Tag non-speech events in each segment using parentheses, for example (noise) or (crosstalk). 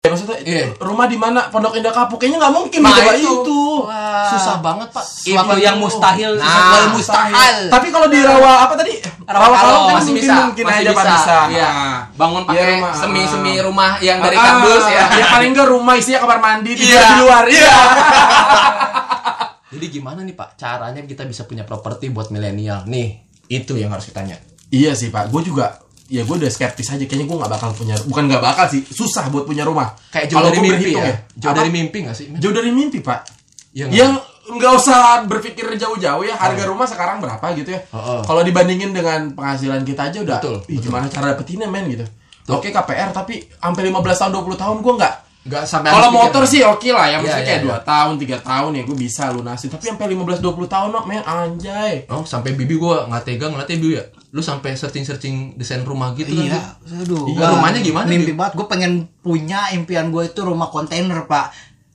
Ya, maksudnya Iya. rumah di mana Pondok Indah Kapuk kayaknya nggak mungkin Nah, gitu, Pak, itu. Ah, itu. Wah. Susah banget pak. Suatu Itu. yang mustahil, Nah, sesuatu yang mustahil. Tapi kalau di rawa apa tadi? Rawa Kalong kan mungkin mungkin aja Pak bisa. Iya. Bangun Iya, pakai rumah. semi-semi rumah yang dari Ah, kardus (laughs) ya. Ya paling enggak rumah isinya kamar mandi tidur Iya. di luar. Iya. Jadi gimana nih Pak caranya kita bisa punya properti buat milenial nih? Itu yang harus ditanya. iya sih, Pak. Gue juga ya gue udah skeptis aja kayaknya gue nggak bakal punya bukan nggak bakal sih susah buat punya rumah Kayak jauh dari gua mimpi berhitung ya. Jauh Apa? dari mimpi gak sih? men? jauh dari mimpi pak Iya nggak? yang Ya, nggak usah berpikir jauh-jauh ya harga rumah sekarang berapa gitu ya Heeh. kalau dibandingin dengan penghasilan kita aja udah Betul, "Ih, gimana cara dapetinnya men gitu oke KPR tapi sampai 15 tahun 20 tahun gue nggak Gak Nah, sampai kalau harus pikir. motor sih oke lah ya maksudnya Iya, kayak iya, 2 tahun 3 tahun ya gue bisa lunasin tapi sampai 15 20 tahun no, men anjay Oh, sampai bibi gua nggak tega ngeliatnya bibi ya. Lu sampai searching-searching desain rumah gitu kan. Iya, aduh. Iya, gua rumahnya gimana, Mimpi Bi? banget. Gue pengen punya impian gue itu rumah kontainer, Pak.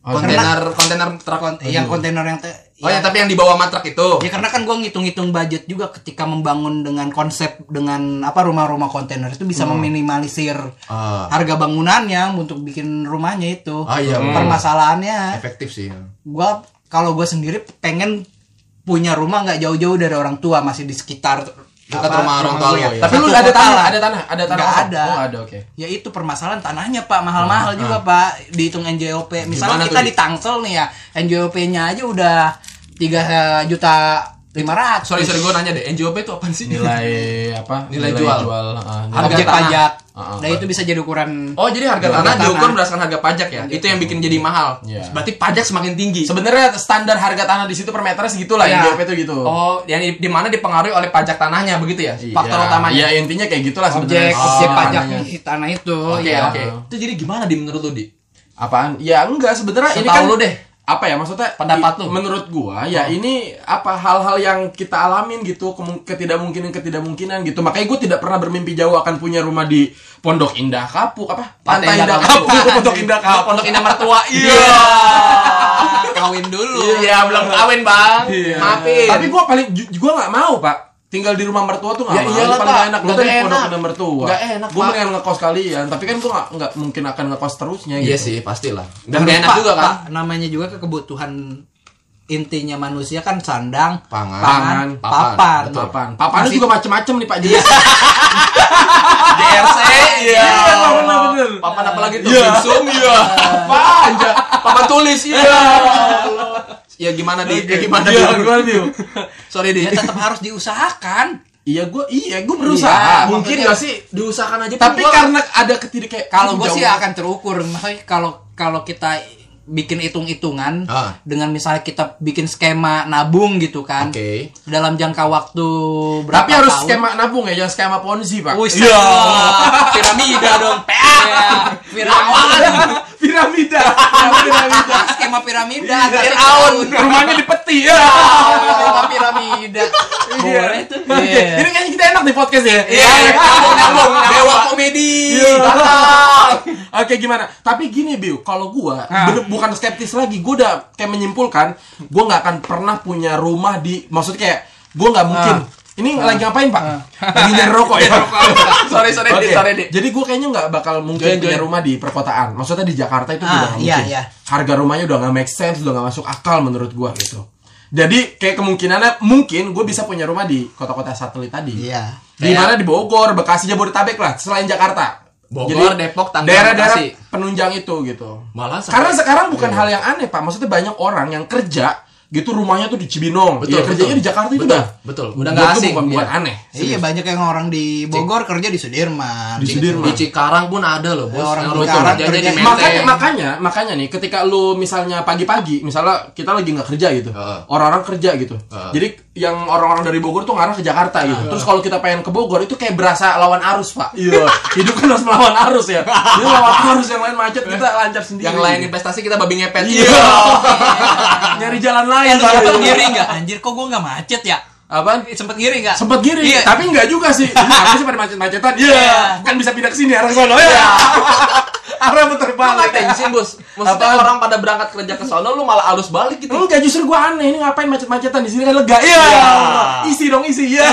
Oh, Karena- Kontainer kontainer truk. kon- yang kontainer yang te- Oh iya, ya, yang- tapi yang di bawah matrak itu. Ya karena kan gue ngitung-ngitung budget juga ketika membangun dengan konsep dengan apa rumah-rumah kontainer itu bisa Hmm. meminimalisir Ah. harga bangunannya untuk bikin rumahnya itu. Ah, iya, bener. Permasalahannya Efektif sih. ya. gue kalau gue sendiri pengen punya rumah nggak jauh-jauh dari orang tua masih di sekitar Dekat rumah orang tua lu, gue. ya. iya. tapi lu Satu ada kota tanah lah. ada tanah ada tanah Nggak kosong? ada. oh ada oke Ya itu permasalahan tanahnya Pak mahal-mahal juga Pak dihitung Ah, NJOP. Misalnya Gimana kita tuh, Di? di Tangsel nih ya NJOP-nya aja udah 3 juta 500. Sorry sorry gua nanya deh, NJOP itu apa sih? nilai apa Nilai jual. ah, nilai- Harga objek tanah. pajak. Ah, ah. Nah itu bisa jadi ukuran Oh jadi harga Harga tanah tanah. diukur berdasarkan harga pajak ya? Itu yang bikin jadi mahal. Iya. Berarti pajak semakin tinggi. sebenarnya standar harga tanah di situ per meter segitulah Iya. ya. NJOP itu gitu Oh, yang di, di mana dipengaruhi oleh pajak tanahnya begitu ya? Faktor Iya. utamanya. ya intinya kayak gitulah objek sebenarnya objek Oh, pajak namanya. di tanah itu Ah, iya, Oke, ya. oke. Itu jadi gimana di menurut lu, Di? apaan ya enggak sebenarnya ini Setahu kan lu deh. apa ya maksudnya i- Pendapat lu. menurut gua ya ini apa hal-hal yang kita alamin gitu kemu- ketidakmungkinan ketidakmungkinan gitu makanya gua tidak pernah bermimpi jauh akan punya rumah di Pondok Indah Kapuk apa Pantai, Pantai Indah Indah Kapuk Kapuk. (laughs) Pondok Indah Kapuk Pondok Indah Mertua. Iya. Kawin dulu. Iya, belum kawin, Bang. Iya. Maafin. tapi gua paling ju- gua nggak mau pak tinggal di rumah mertua tuh nggak Ya mau iyalah, paling Pak. enak lu Nggak tadi di enak. pondok Indah mertua Nggak enak, gua Pak. mendingan ngekos kalian tapi kan gua nggak nggak mungkin akan ngekos terusnya Iya gitu sih, pastilah. dan Harus, gak enak Pak, juga kan? (laughs) Pak, namanya juga ke kebutuhan intinya manusia kan sandang, Pangan. pangan, Papan. papan. Betul. papan papan (laughs) Masih- juga macem-macem nih pak jenis DRC, iya. bener-bener. Papan apa lagi tuh? Iya. Dimsum, iya. Papan, ja. papan tulis, iya. Ya gimana di? Ya gimana Iya, di? gimana, Dio? Sorry di. Ya tetap harus diusahakan. (laughs) Iya gue iya gue berusaha. Iya, Mungkin maksudnya- gak sih? diusahakan aja. Tapi kan- Pak. karena ada ketidak kayak kalau gue sih jauh. akan terukur maksudnya kalau kalau kita bikin hitung-hitungan Ah. dengan misalnya kita bikin skema nabung gitu kan Oke. dalam jangka waktu berapa tapi harus tahun. skema nabung ya, jangan skema ponzi pak. Wih, Iya. piramida (laughs) dong. Ya, piramida (laughs) Piramida. piramida skema piramida Firaun. Rumahnya di peti ya. skema piramida boleh tuh Iya. Oke, Ini kayaknya kita enak nih podcast ya. Iya, nyambung, nyambung. Iya. Dewa komedi. Iya. (laughs) Oke gimana? Tapi gini Biu, kalau gua bener- bukan skeptis lagi, gua udah kayak menyimpulkan, gua nggak akan pernah punya rumah di, maksudnya kayak gua nggak mungkin. Ini lagi ngapain pak? Lagi nyari rokok ya. Sorry, sorry, Di, Oke, sorry, Di. Jadi gua kayaknya nggak bakal mungkin Join, punya join. rumah di perkotaan. Maksudnya di Jakarta itu udah Ah, nggak iya, mungkin. iya. Harga rumahnya udah nggak make sense, udah nggak masuk akal menurut gua gitu. Jadi kayak kemungkinannya mungkin gue bisa punya rumah di kota-kota satelit tadi. Iya. Di Kayak- mana di Bogor, Bekasi, Jabodetabek lah, selain Jakarta. Bogor, Depok, Tangerang, daerah-daerah Bekasi. penunjang itu gitu. Malah sampai- karena sekarang bukan gitu? hal yang aneh pak, maksudnya banyak orang yang kerja gitu rumahnya tuh di Cibinong, Betul, Iya, kerjanya betul. di Jakarta itu Betul, udah, betul. Udah udah nggak nggak asing, bukan, bukan iya. aneh. iya banyak yang orang di Bogor kerja di Sudirman Di Sudirman. Di Cikarang pun ada loh, Bos. Ya, orang Yang Cikarang kerjanya di kerja- menteng. makanya makanya makanya nih ketika lu misalnya pagi-pagi misalnya kita lagi nggak kerja gitu Heeh. orang-orang kerja gitu Heeh. jadi yang orang-orang dari Bogor tuh ngarah ke Jakarta gitu terus kalau kita pengen ke Bogor itu kayak berasa lawan arus pak iya (laughs) hidup kan harus melawan arus ya jadi lawan (laughs) arus yang lain macet kita lancar sendiri Yang lain investasi kita babi ngepet. (laughs) iya nyari jalan lain Pak. sempet ngiri nggak anjir kok gue nggak macet ya Apaan? sempet ngiri nggak sempet giri Iya. tapi nggak juga sih Ini apa sih pada macet-macetan iya Iya. kan bisa pindah ke sini arah ke sana ya (laughs) arah putar Malah balik tensin, Bos. Maksudnya Apaan? orang pada berangkat kerja ke sono lu malah alus balik gitu. Enggak justru gua aneh ini ngapain macet-macetan di sini kan lega. Iya. Isi dong isi. Iya.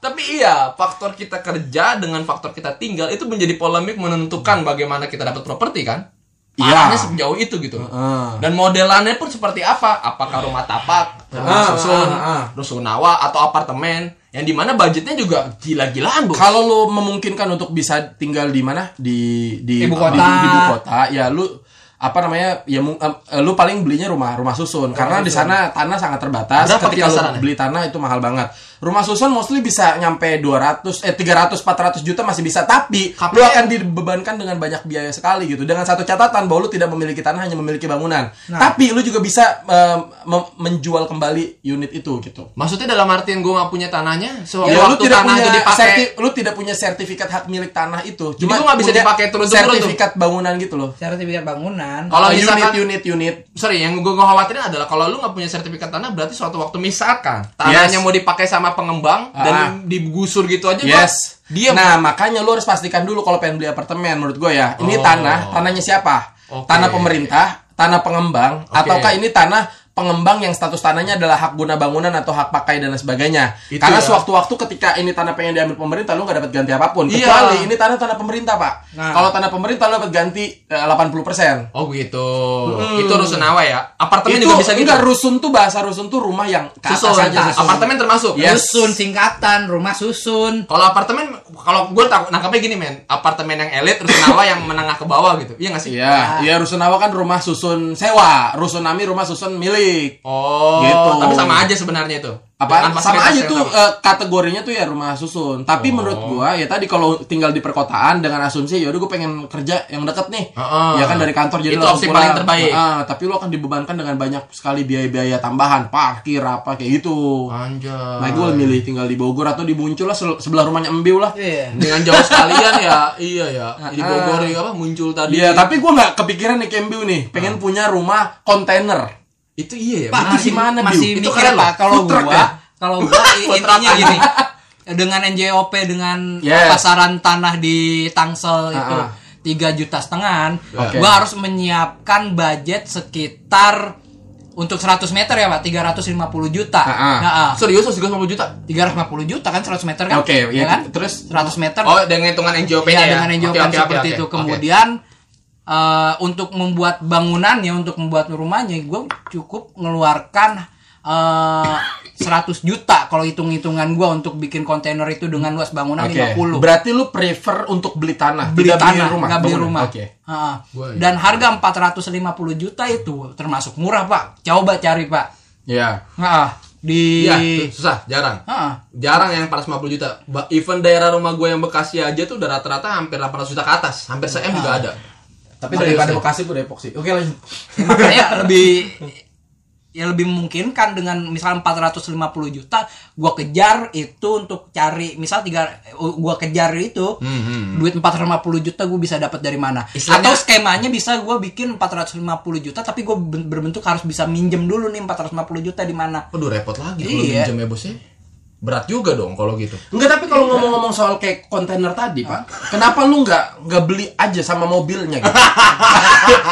Tapi Iya, faktor kita kerja dengan faktor kita tinggal itu menjadi polemik menentukan bagaimana kita dapat properti kan? Parahnya Iya. sejauh itu gitu. Heeh. Dan modelannya pun seperti apa? Apakah rumah tapak, rumah Ah, susun, ah, ah. rusunawa atau apartemen? Yang dimana budgetnya juga gila-gilaan, Bu. Kalau lo memungkinkan untuk bisa tinggal di mana di di Ibu kota. di, di ibu kota, ya lu apa namanya ya mu- em, lu paling belinya rumah rumah susun karena di sana tanah sangat terbatas Berapa ketika lu kisarannya? beli tanah itu mahal banget rumah susun mostly bisa nyampe 200 eh 300 400 juta masih bisa tapi lu akan dibebankan dengan banyak biaya sekali gitu dengan satu catatan bahwa lu tidak memiliki tanah hanya memiliki bangunan tapi lu juga bisa em, mem- menjual kembali unit itu gitu Maksudnya dalam artian gue nggak punya tanahnya, sewaktu Ya, lu waktu tidak tanah punya itu dipakai. serti- lu tidak punya sertifikat hak milik tanah itu. Jadi lu nggak bisa punya dipakai turun-temurun tuh. sertifikat bangunan gitu loh. sertifikat bangunan Kalau Eh, misalkan- unit unit unit. Sorry, yang gue khawatirin adalah kalau lu nggak punya sertifikat tanah, berarti suatu waktu misalkan Yes. tanahnya mau dipakai sama pengembang dan Ah. digusur gitu aja, gua Yes. diam. Nah, makanya lu harus pastikan dulu kalau pengen beli apartemen menurut gue ya. Ini tanah, tanahnya siapa? Oh. Oke. Tanah pemerintah, tanah pengembang, ataukah ini tanah pengembang yang status tanahnya adalah hak guna bangunan atau hak pakai dan lain sebagainya. Itu Karena ya. sewaktu-waktu ketika ini tanah pengen diambil pemerintah, lu nggak dapat ganti apapun. Iya. Kecuali ini tanah tanah pemerintah, Pak. Nah. Kalau tanah pemerintah lu dapat ganti eh, 80%. Oh gitu. Itu rusunawa ya. Apartemen itu juga bisa gitu. enggak rusun tuh bahasa rusun tuh rumah yang ke atas Iya. Susun. ah, aja susun. Apartemen termasuk. Yes. susun singkatan rumah susun Kalau apartemen, kalau gue takut nangkapnya gini men, apartemen yang elit, (laughs) rusunawa yang menengah ke bawah gitu, iya nggak sih? Iya, iya rusunawa kan rumah susun sewa, rusunami rumah susun milik. Oh, Gitu. tapi sama aja sebenarnya itu. Apa Dengan sama fasilitas aja yang tuh sama. eh, kategorinya tuh ya rumah susun. Oh. Tapi menurut gua ya tadi kalau tinggal di perkotaan dengan asumsi ya udah gua pengen kerja yang deket nih. Heeh. Ya kan dari kantor jadi Itu langsung opsi pulang. paling terbaik. Heeh, tapi lu akan dibebankan dengan banyak sekali biaya-biaya tambahan, parkir apa kayak gitu. Ah. Anjay. Nah, gue milih tinggal di Bogor atau di Muncul lah sel- sebelah rumahnya Embiu lah. iya Dengan jauh sekalian ya, (laughs) iya ya. Di Bogor ya, apa muncul tadi. Iya, Ah. tapi gua nggak kepikiran nih Kembiu nih, pengen punya rumah kontainer. itu iya ya. Pak, Itu masih gimana, masih Bill? Itu mikir keren Pak loh. kalau Food truck, gua ya? kalau gua i- Food truck, intinya ya? gini dengan NJOP dengan Yes. pasaran tanah di Tangsel itu Ah, ah. 3 juta setengahan Oke. gua harus menyiapkan budget sekitar untuk 100 meter ya Pak 350 juta Ah, ah. Nah, ah. Serius 150 juta. 350 juta kan 100 meter kan Oke, ya, kan terus? 100 meter Oh, dengan hitungan NJOP-nya Iya, ya. dengan yang Oke, jawaban oke, oke, seperti oke. itu. Oke. Kemudian eh, untuk membuat bangunannya, untuk membuat rumahnya, gue cukup ngeluarkan eh 100 juta kalau hitung-hitungan gue untuk bikin kontainer itu dengan luas bangunan Oke. 50 Berarti lu prefer untuk beli tanah, beli tidak tanah, beli rumah. nggak beli bangunan. rumah. Oke. Heeh. Gua, iya. Dan harga 450 juta itu termasuk murah pak. Coba cari pak. Iya. Heeh. Di Iya, susah, jarang. Heeh. jarang yang 450 juta Ba- even daerah rumah gue yang Bekasi aja tuh udah rata-rata hampir 800 juta ke atas hampir se m juga ada Tapi Oke, daripada sih. Bekasi gue Depok sih. Oke lanjut. makanya lebih ya lebih memungkinkan dengan misal 450 juta gua kejar itu untuk cari misal tiga gua kejar itu duit 450 juta gua bisa dapat dari mana Istilahnya- atau skemanya bisa gua bikin 450 juta tapi gua ben- berbentuk harus bisa minjem dulu nih 450 juta di mana Waduh repot lagi kalau Iya. minjem ya bosnya berat juga dong kalau gitu Enggak, tapi kalau ngomong-ngomong soal kayak kontainer tadi, Pak. Kenapa lu nggak nggak beli aja sama mobilnya gitu? (laughs)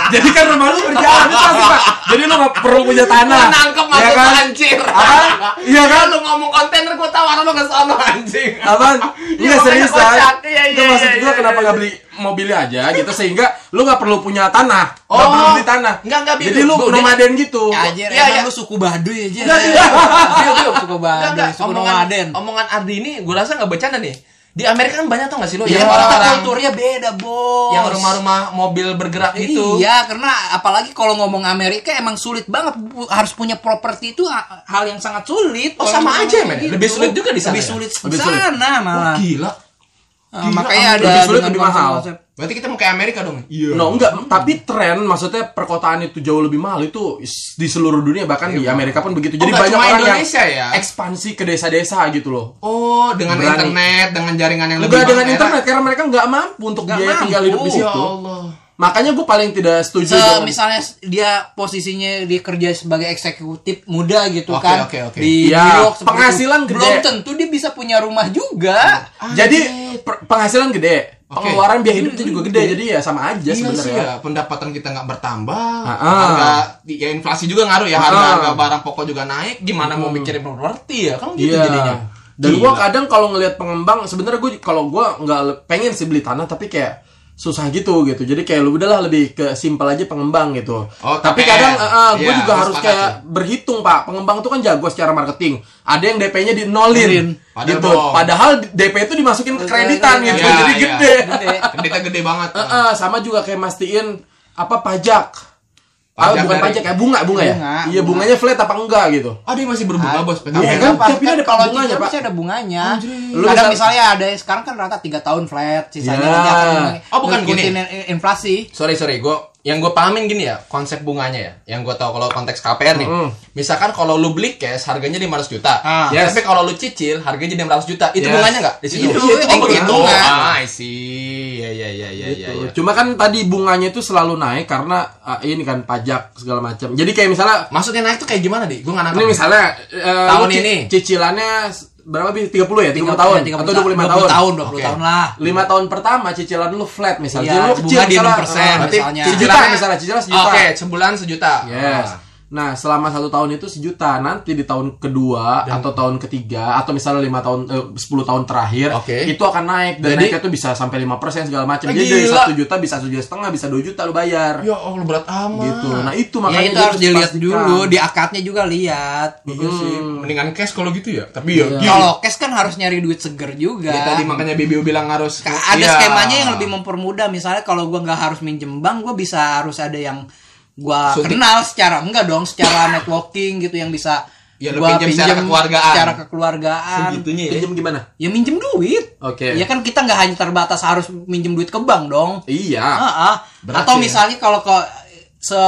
Jadi kan rumah lu berjalan itu pasti, Pak. Jadi lu nggak perlu punya tanah. Gua nangkep Iya maksud kan? anjir Ah, Apa? Iya kan? lu ngomong kontainer gue tawar lu ke sono anjing (laughs) Apaan? Iya, Enggak makanya serius kocak. kan? Iya, Enggak iya, maksud iya, gua iya, kenapa iya. nggak beli mobilnya aja gitu sehingga lu nggak perlu punya tanah. Oh. Nggak perlu beli tanah. Nggak, nggak, Bi. Jadi lu Gua udah- nomaden gitu. aja Iya, iya. lu suku baduy aja Enggak, iya. Iya, lu suku Enggak, baduy enggak. suku omongan, nomaden omongan Ardi ini gue rasa nggak bercanda nih di Amerika kan banyak tau gak sih lo yang Iya, kita orang-orang kulturnya beda, bos. yang rumah-rumah mobil bergerak gitu Iya, karena apalagi kalau ngomong Amerika emang sulit banget Bu- harus punya properti itu ha- hal yang sangat sulit. Oh, Kalau sama ngomong gitu, aja, men. Lebih sulit juga di sana, Lebih ya? sulit di Lebih sulit. sana malah. Wah, gila Nah, makanya ada lebih sulit, dengan lebih mahal. konsep- berarti kita mau kayak Amerika dong iya No, enggak, tapi tren maksudnya perkotaan itu jauh lebih mahal itu is- di seluruh dunia bahkan di Amerika pun begitu. Jadi Iya, Oh, nggak banyak cuma orang Indonesia ya? yang ekspansi ke desa-desa gitu loh. Oh, dengan Berani. internet, dengan jaringan yang Enggak dengan mahal. internet karena mereka nggak mampu untuk Nggak biaya tinggal mampu. hidup di situ. Ya Allah. Makanya gue paling tidak setuju Se- dengan- Eh, misalnya dia posisinya dia kerja sebagai eksekutif muda gitu Oke, kan oke, oke. di Iya, New York seperti itu. penghasilan gede. belum tentu dia bisa punya rumah juga Iya. Jadi per- penghasilan gede, Ah, Oke. Hmm, pengeluaran biaya hidupnya juga gede. Jadi ya sama aja Iya sih sebenarnya. ya, pendapatan kita nggak bertambah, Ah. harga ya inflasi juga ngaruh ya, Ah. harga harga barang pokok juga naik, gimana mau mikirin properti ya kan gitu Iya. jadinya. Dan gua kadang kalau ngelihat pengembang sebenarnya gue kalau gua nggak le- pengen sih beli tanah tapi kayak susah gitu gitu. Jadi kayak lu udahlah lebih ke simpel aja pengembang gitu. Oh, tapi KPR. kadang gue Iya, juga gua harus sepakat kayak berhitung, Pak. Pengembang itu kan jago secara marketing. Ada yang DP-nya di nolin Padahal gitu. bohong. Padahal DP itu dimasukin ke kreditan gitu. Iya, Jadi iya. gede. Kreditnya gede banget. Eh, eh, sama juga kayak mastiin apa pajak. Ah, bukan Pajak dari- pajak ya, bunga, bunga, ya. Bunga, Iya, bunga. bunganya flat apa enggak gitu. Ada yang masih berbunga Ah, bos PKB. Iya, Iya kan? kan? Tiap ini ada kalau bunganya, cicilan Pak. pasti ada bunganya. Lu Kadang bisa- misalnya ada sekarang kan rata 3 tahun flat, sisanya Iya. nanti akan Oh, bukan ngikutin inflasi. sorry sorry gue yang gue pahamin gini ya konsep bunganya ya yang gue tahu kalau konteks KPR nih Mm. misalkan kalau lu beli cash harganya 500 juta Ah. Ya, tapi kalau lu cicil harganya 500 juta itu Yes. bunganya nggak di situ Itu, Oh, itu begitu. penghitungan. ah I see ya ya ya ya ya, Gitu. ya. Cuma kan tadi bunganya itu selalu naik karena ah, ini kan pajak segala macam. Jadi kayak misalnya maksudnya naik tuh kayak gimana di gue nggak nangkap ini misalnya eh, lu Tahun ci- ini. cicilannya s- berapa bi? 30 ya? 30, tahun 30, atau 25 20 tahun. tahun, 20 Oke. tahun lah. Iya. 5 tahun pertama cicilan lu flat misalnya. Iya, Jadi lu bunga kecil di misalnya, 6%, ah, berarti misalnya. Sejuta misalnya, cicilan oke sejuta. sebulan sejuta Yes. Ah. Nah, selama satu tahun itu sejuta. Nanti di tahun kedua atau tahun ketiga atau misalnya lima tahun, eh, 10 tahun terakhir, Oke. itu akan naik dan Jadi- naiknya tuh bisa sampai 5% segala macam. Ah, Jadi dari gila. satu juta bisa satu juta setengah, bisa 2 juta lu bayar. ya allah berat amat Gitu. Nah, itu Ya makanya itu jadi harus dilihat dipastikan. dulu di akadnya juga lihat. Iya sih. mendingan cash kalau gitu ya tapi ya gini. Kalau cash kan harus nyari duit seger juga. Ya, tadi makanya Bibi bilang harus Ka- ada Iya. skemanya yang lebih mempermudah misalnya kalau gua nggak harus minjem bank gua bisa harus ada yang gua Suntik. kenal secara enggak dong secara networking gitu yang bisa Ya, lu pinjem secara kekeluargaan. secara kekeluargaan segitunya ya Pinjem gimana? ya minjem duit Oke. Iya. ya kan kita nggak hanya terbatas harus minjem duit ke bank dong Iya. Ah, ah. Berat atau sih ya. misalnya kalau ke se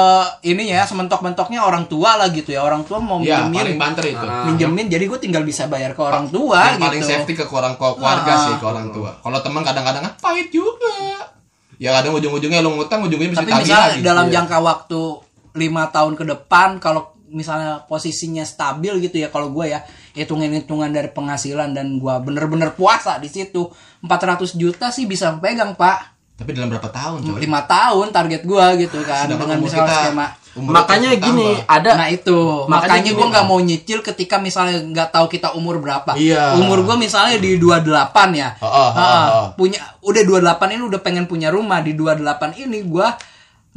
ini ya sementok-mentoknya orang tua lah gitu ya orang tua mau ya paling minjemin banter itu Ah. minjemin jadi gue tinggal bisa bayar ke orang tua yang gitu paling safety ke orang ke keluarga Ah. sih ke orang tua kalau teman kadang-kadang kan pahit juga ya kadang ujung-ujungnya lu ngutang ujungnya bisa Tapi ditagih misalnya lagi dalam Iya. jangka waktu lima tahun ke depan kalau misalnya posisinya stabil gitu ya kalau gue ya hitungan-hitungan dari penghasilan dan gue bener-bener puasa di situ 400 juta sih bisa pegang pak tapi dalam berapa tahun coy? lima tahun target gue gitu kan Sedangkan dengan umur misalnya kita- skema umur Makanya kita gini, bertambah. ada nah itu Makanya makanya, gue gini, nggak mau nyicil ketika misalnya nggak tahu kita umur berapa Iya. umur gue misalnya di 28 ya Oh, oh, oh, Ah, oh. punya udah 28 ini udah pengen punya rumah di 28 ini gue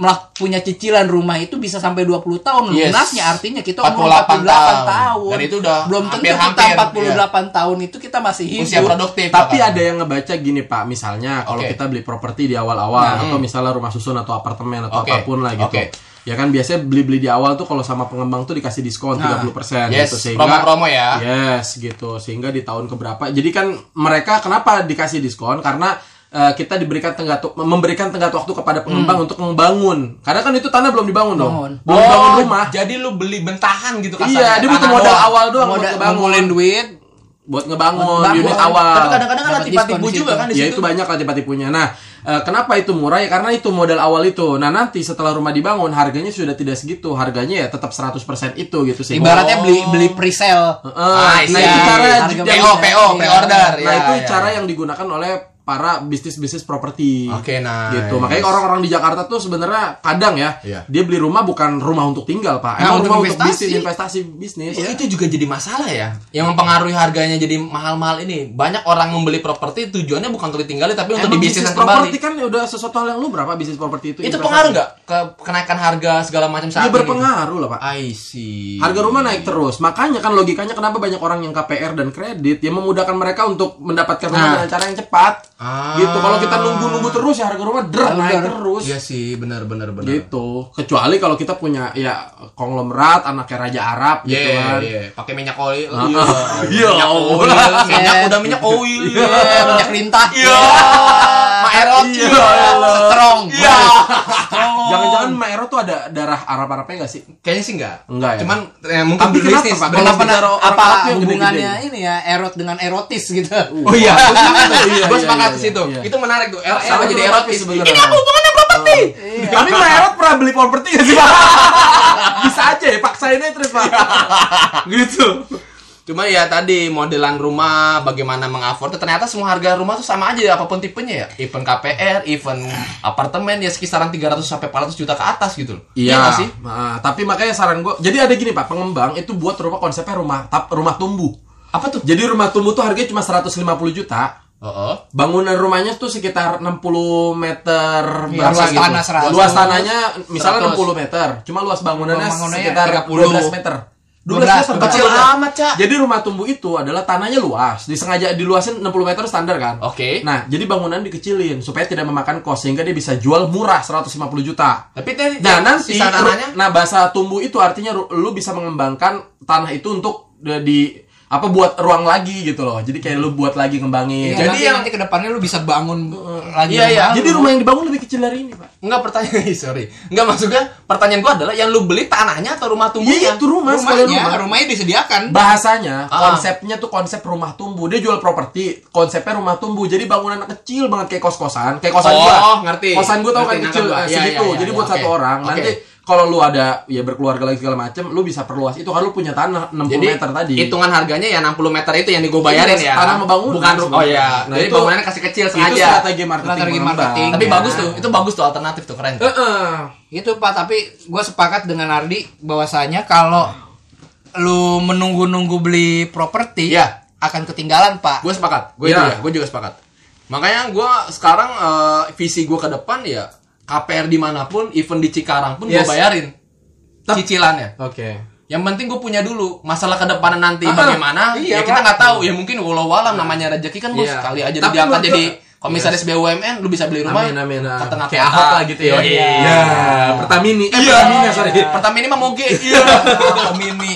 melak punya cicilan rumah itu bisa sampai 20 tahun Yes. lunasnya artinya kita 48 umur 48 tahun. tahun. Dan itu udah belum tentu hampir-hampir, kita 48 tahun itu kita masih hidup usia produktif Tapi bahkan. ada yang ngebaca gini Pak, misalnya kalau Oke. Nah, hmm. kita beli properti di awal-awal atau misalnya rumah susun atau apartemen atau Oke. apapun lah gitu. Oke. Ya kan biasanya beli-beli di awal tuh kalau sama pengembang tuh dikasih diskon 30% Nah. Yes, gitu sehingga promo-promo ya. Yes, gitu. Sehingga di tahun keberapa. Jadi kan mereka kenapa dikasih diskon? Karena eh, kita diberikan tenggat memberikan tenggat waktu Hmm. kepada pengembang untuk membangun. Karena kan itu tanah belum dibangun dong. Belum bangun oh, rumah. jadi lu beli bentahan gitu Iya, dia butuh tanah modal doang. awal doang Modal- buat ngebangun. ngumpulin duit Buat ngebangun Bangun. unit awal. tapi kadang-kadang kan Dapat tipu diskon juga situ. kan di Ya itu situ banyak lah tipe-tipenya. Nah, eh, kenapa itu murah ya? Karena itu modal awal itu. Nah, nanti setelah rumah dibangun harganya sudah tidak segitu. Harganya ya tetap 100% itu gitu sih. ibaratnya beli Oh. beli Eh, pre-sale nah, Ah, iya. itu cara Harga yang- PO PO Iya. pre-order nah, Ya, itu ya. cara yang digunakan oleh para bisnis-bisnis properti. Oke, nice. Gitu. Makanya orang-orang di Jakarta tuh sebenarnya kadang ya, Iya. dia beli rumah bukan rumah untuk tinggal, Pak. Nah, Emang untuk rumah untuk investasi. bisnis investasi bisnis. Oh, itu juga jadi masalah ya yang mempengaruhi harganya jadi mahal-mahal ini banyak orang membeli properti tujuannya bukan untuk ditinggali tapi untuk Emang dibisnis bisnis kembali properti kan udah sesuatu hal yang lu berapa bisnis properti itu? itu investasi? pengaruh nggak ke kenaikan harga segala macam saat Iya ini? berpengaruh lah, Pak. I see. Harga rumah naik terus, makanya kan logikanya kenapa banyak orang yang KPR dan kredit yang memudahkan mereka untuk mendapatkan rumah dengan cara yang cepat. Nah. Ah. Gitu. Kalau kita nunggu-nunggu terus ya harga rumah der naik terus. Iya sih, benar benar benar. Gitu. Kecuali kalau kita punya ya konglomerat anaknya raja Arab Iya, gitu kan. iya. pakai minyak oil. Iya, minyak (laughs) oil. Allah. ya. Minyak udah minyak oil. Eh, minyak lintah Iya. Maerot. Iya, Allah. strong Iya. (laughs) Eh, Jangan-jangan Maero tuh ada darah Arab-Arabnya gak sih? Kayaknya sih enggak. Enggak ya? Cuman eh, mungkin Tapi kenapa, berbisnis, Pak? berbisnis. Kenapa Nah, Cara orang Arab apa yang hubungannya gede-gede. ini ya erot dengan erotis gitu Oh iya. iya, Gue iya, sepakat iya, ke situ. iya. Itu menarik tuh. Er- Sama Sama jadi properti erotis. sebenarnya. Iya. Ini apa hubungannya properti? Tapi Maero pernah beli properti gak sih, Pak? (laughs) Bisa aja ya, paksain aja terus, Pak. Iya. gitu. Cuma ya tadi modelan rumah bagaimana mengafford ternyata semua harga rumah tuh sama aja apapun tipenya ya. Even KPR, even apartemen ya sekisaran 300 sampai 400 juta ke atas gitu loh. Iya, nggak sih? Nah, tapi makanya saran gue, jadi ada gini pak, pengembang itu buat rumah konsepnya rumah tap, rumah tumbuh. Apa tuh? Jadi rumah tumbuh tuh harganya cuma 150 juta. Oh, oh. Bangunan rumahnya tuh sekitar 60 meter berapa Iya, gitu. luas tanah 100. Luas tanahnya misalnya 100. 60 meter. Cuma luas bangunannya Bangunannya sekitar 12 meter. 30. 12 meter. Nah, Kecil kan? amat, Cak. Jadi rumah tumbuh itu adalah tanahnya luas, disengaja diluasin 60 meter standar kan. Oke. Nah, jadi bangunan dikecilin supaya tidak memakan kos sehingga dia bisa jual murah 150 juta. Tapi tadi Nah, nanti Iya, sisa tanahnya nah bahasa tumbuh itu artinya ru- lu bisa mengembangkan tanah itu untuk de- di apa buat ruang lagi gitu loh. Jadi kayak lu buat lagi ngembangin. Jadi Jadi Iya. nanti, yang nanti kedepannya lu bisa bangun eh, lagi. Iya, iya. jadi rumah yang dibangun lebih kecil dari ini, Pak. Enggak pertanyaan (laughs) sorry. Enggak maksudnya pertanyaan gua adalah yang lu beli tanahnya atau Iya, rumah tumbuhnya? itu rumah, sekalian Rumahnya, rumah. rumahnya disediakan. Bahasanya, Ah. konsepnya tuh konsep rumah tumbuh. Dia jual properti, konsepnya rumah tumbuh. Jadi bangunan kecil banget kayak kos-kosan, kayak kosan gua. Oh, ngerti. Kosan gua tau Ngerti, kan kecil nangkep eh, gua. Iya, segitu. iya, iya, Jadi iya, buat satu oke. orang. Oke. Nanti kalau lu ada ya berkeluarga lagi segala macem, lu bisa perluas itu kalau lu punya tanah 60 Jadi meter tadi. Iya, hitungan harganya ya 60 meter itu yang gue bayarin ya. Tanah sama bangunan Bukan ru- Oh sebenarnya. ya. Nah, Jadi itu- bangunannya kasih kecil itu sengaja. strategi Iya. marketing. Strategi pengembang. marketing. Tapi Ya. bagus tuh. Itu bagus tuh alternatif tuh keren. tuh. Heeh. Itu Gitu, Pak, tapi gue sepakat dengan Ardi bahwasanya kalau lu menunggu-nunggu beli properti Iya. akan ketinggalan, Pak. Gue sepakat. Gue Iya. juga, gue juga sepakat. Makanya gue sekarang eh, visi gue ke depan ya KPR dimanapun, event di Cikarang pun Yes. gue bayarin cicilannya. Oke. Yang penting gue punya dulu. Masalah ke depan nanti Ah, bagaimana? iya, ya kita Pak. nggak tahu. Ya mungkin walau walam namanya rezeki kan bos. Iya. Sekali aja Tapi diangkat menurut jadi gua- komisaris Iya. BUMN, lu bisa Nah, beli rumah. Amin amin. ah. Ke tengah Kayak kota. Ahok lah gitu ya. Yoi. Iya. Pertamini. Eh, Pertamina sorry. Pertama ini mah (laughs) moge. Iya. Mini.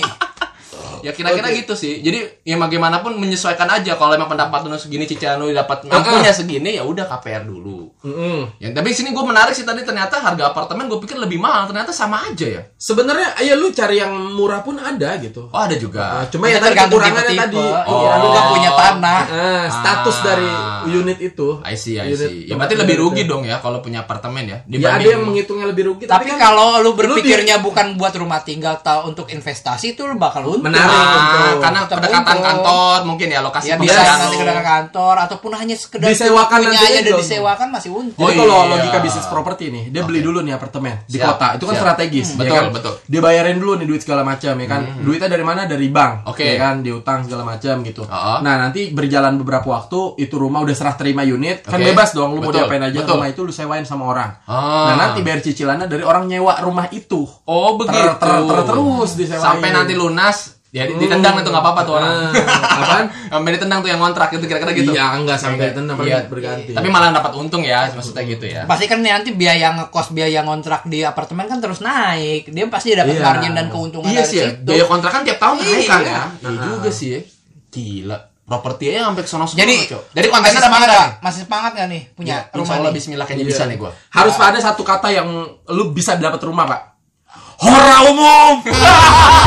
ya kira-kira gitu sih. Jadi ya bagaimanapun menyesuaikan aja kalau emang pendapat lu segini cicilan lu dapat mampunya segini ya udah KPR dulu. Mm-mm. Ya, tapi sini gue menarik sih tadi ternyata harga apartemen gue pikir lebih mahal ternyata sama aja ya. Sebenarnya ya lu cari yang murah pun ada gitu. Oh ada Ah, juga. cuma ya tadi tergantung kekurangannya tipe-tipe. tadi. Oh. Eh, Iya, lu Lu nggak nggak punya tanah. Ah, status Ah. dari unit itu. I see, I Unit see. Ya tempat berarti tinggal lebih itu. rugi dong ya kalau punya apartemen Ya iya, ya. ada dibanding- yang menghitungnya lebih rugi. Tapi kan kalau lu di- berpikirnya bukan buat rumah tinggal atau untuk investasi itu lu bakal untung. Menarik. Ah, Betul. karena Tetap kedekatan untung. kantor mungkin ya lokasi Ya bisa pekerjaan nanti lu. ke kantor ataupun hanya sekedar Disewakan punya nanti aja dan dong. disewakan masih untung. Jadi Oh, kalau iya. logika bisnis properti nih, dia beli dulu nih apartemen di Siap, kota. Itu kan siap. strategis, Hmm. ya Betul, kan? betul. Hmm. Dia bayarin dulu nih duit segala macam ya kan. Duitnya dari mana? Dari bank. Oke. Ya kan, diutang segala macam gitu. Ah. Nah, nanti berjalan beberapa waktu itu rumah udah serah terima unit, kan Oke. bebas dong lu mau Betul, diapain aja betul. rumah itu lu sewain sama orang. Ah. Nah, nanti bayar cicilannya dari orang nyewa rumah (laughs) itu. Oh Ter- begitu. ter- ter- terus disewain. Sampai nanti lunas. Ya di- ditendang itu nggak apa-apa tuh orang. (laughs) Kan? Ah, apaan? Sampai ditendang tuh yang kontrak itu kira-kira gitu. Iya, enggak sampai tenang Iya. berganti. Tapi malah dapat untung ya maksudnya gitu ya. Pasti kan nanti biaya ngekos, biaya ngontrak di apartemen kan terus naik. Dia pasti dapat Iya. margin dan keuntungan Iya dari sih ya. situ. Biaya kontrakan tiap tahun naik kan Iya. ya. Iya juga sih ya. Gila. Properti aja sampai ke sono Jadi, Jadi masih kontennya ada mana semangat gak? nih? Masih semangat gak nih punya Ya, rumah Insya Allah nih? bismillah kayaknya bisa nih gua. Harus ada satu kata yang lu bisa dapat rumah, Pak. Hora umum.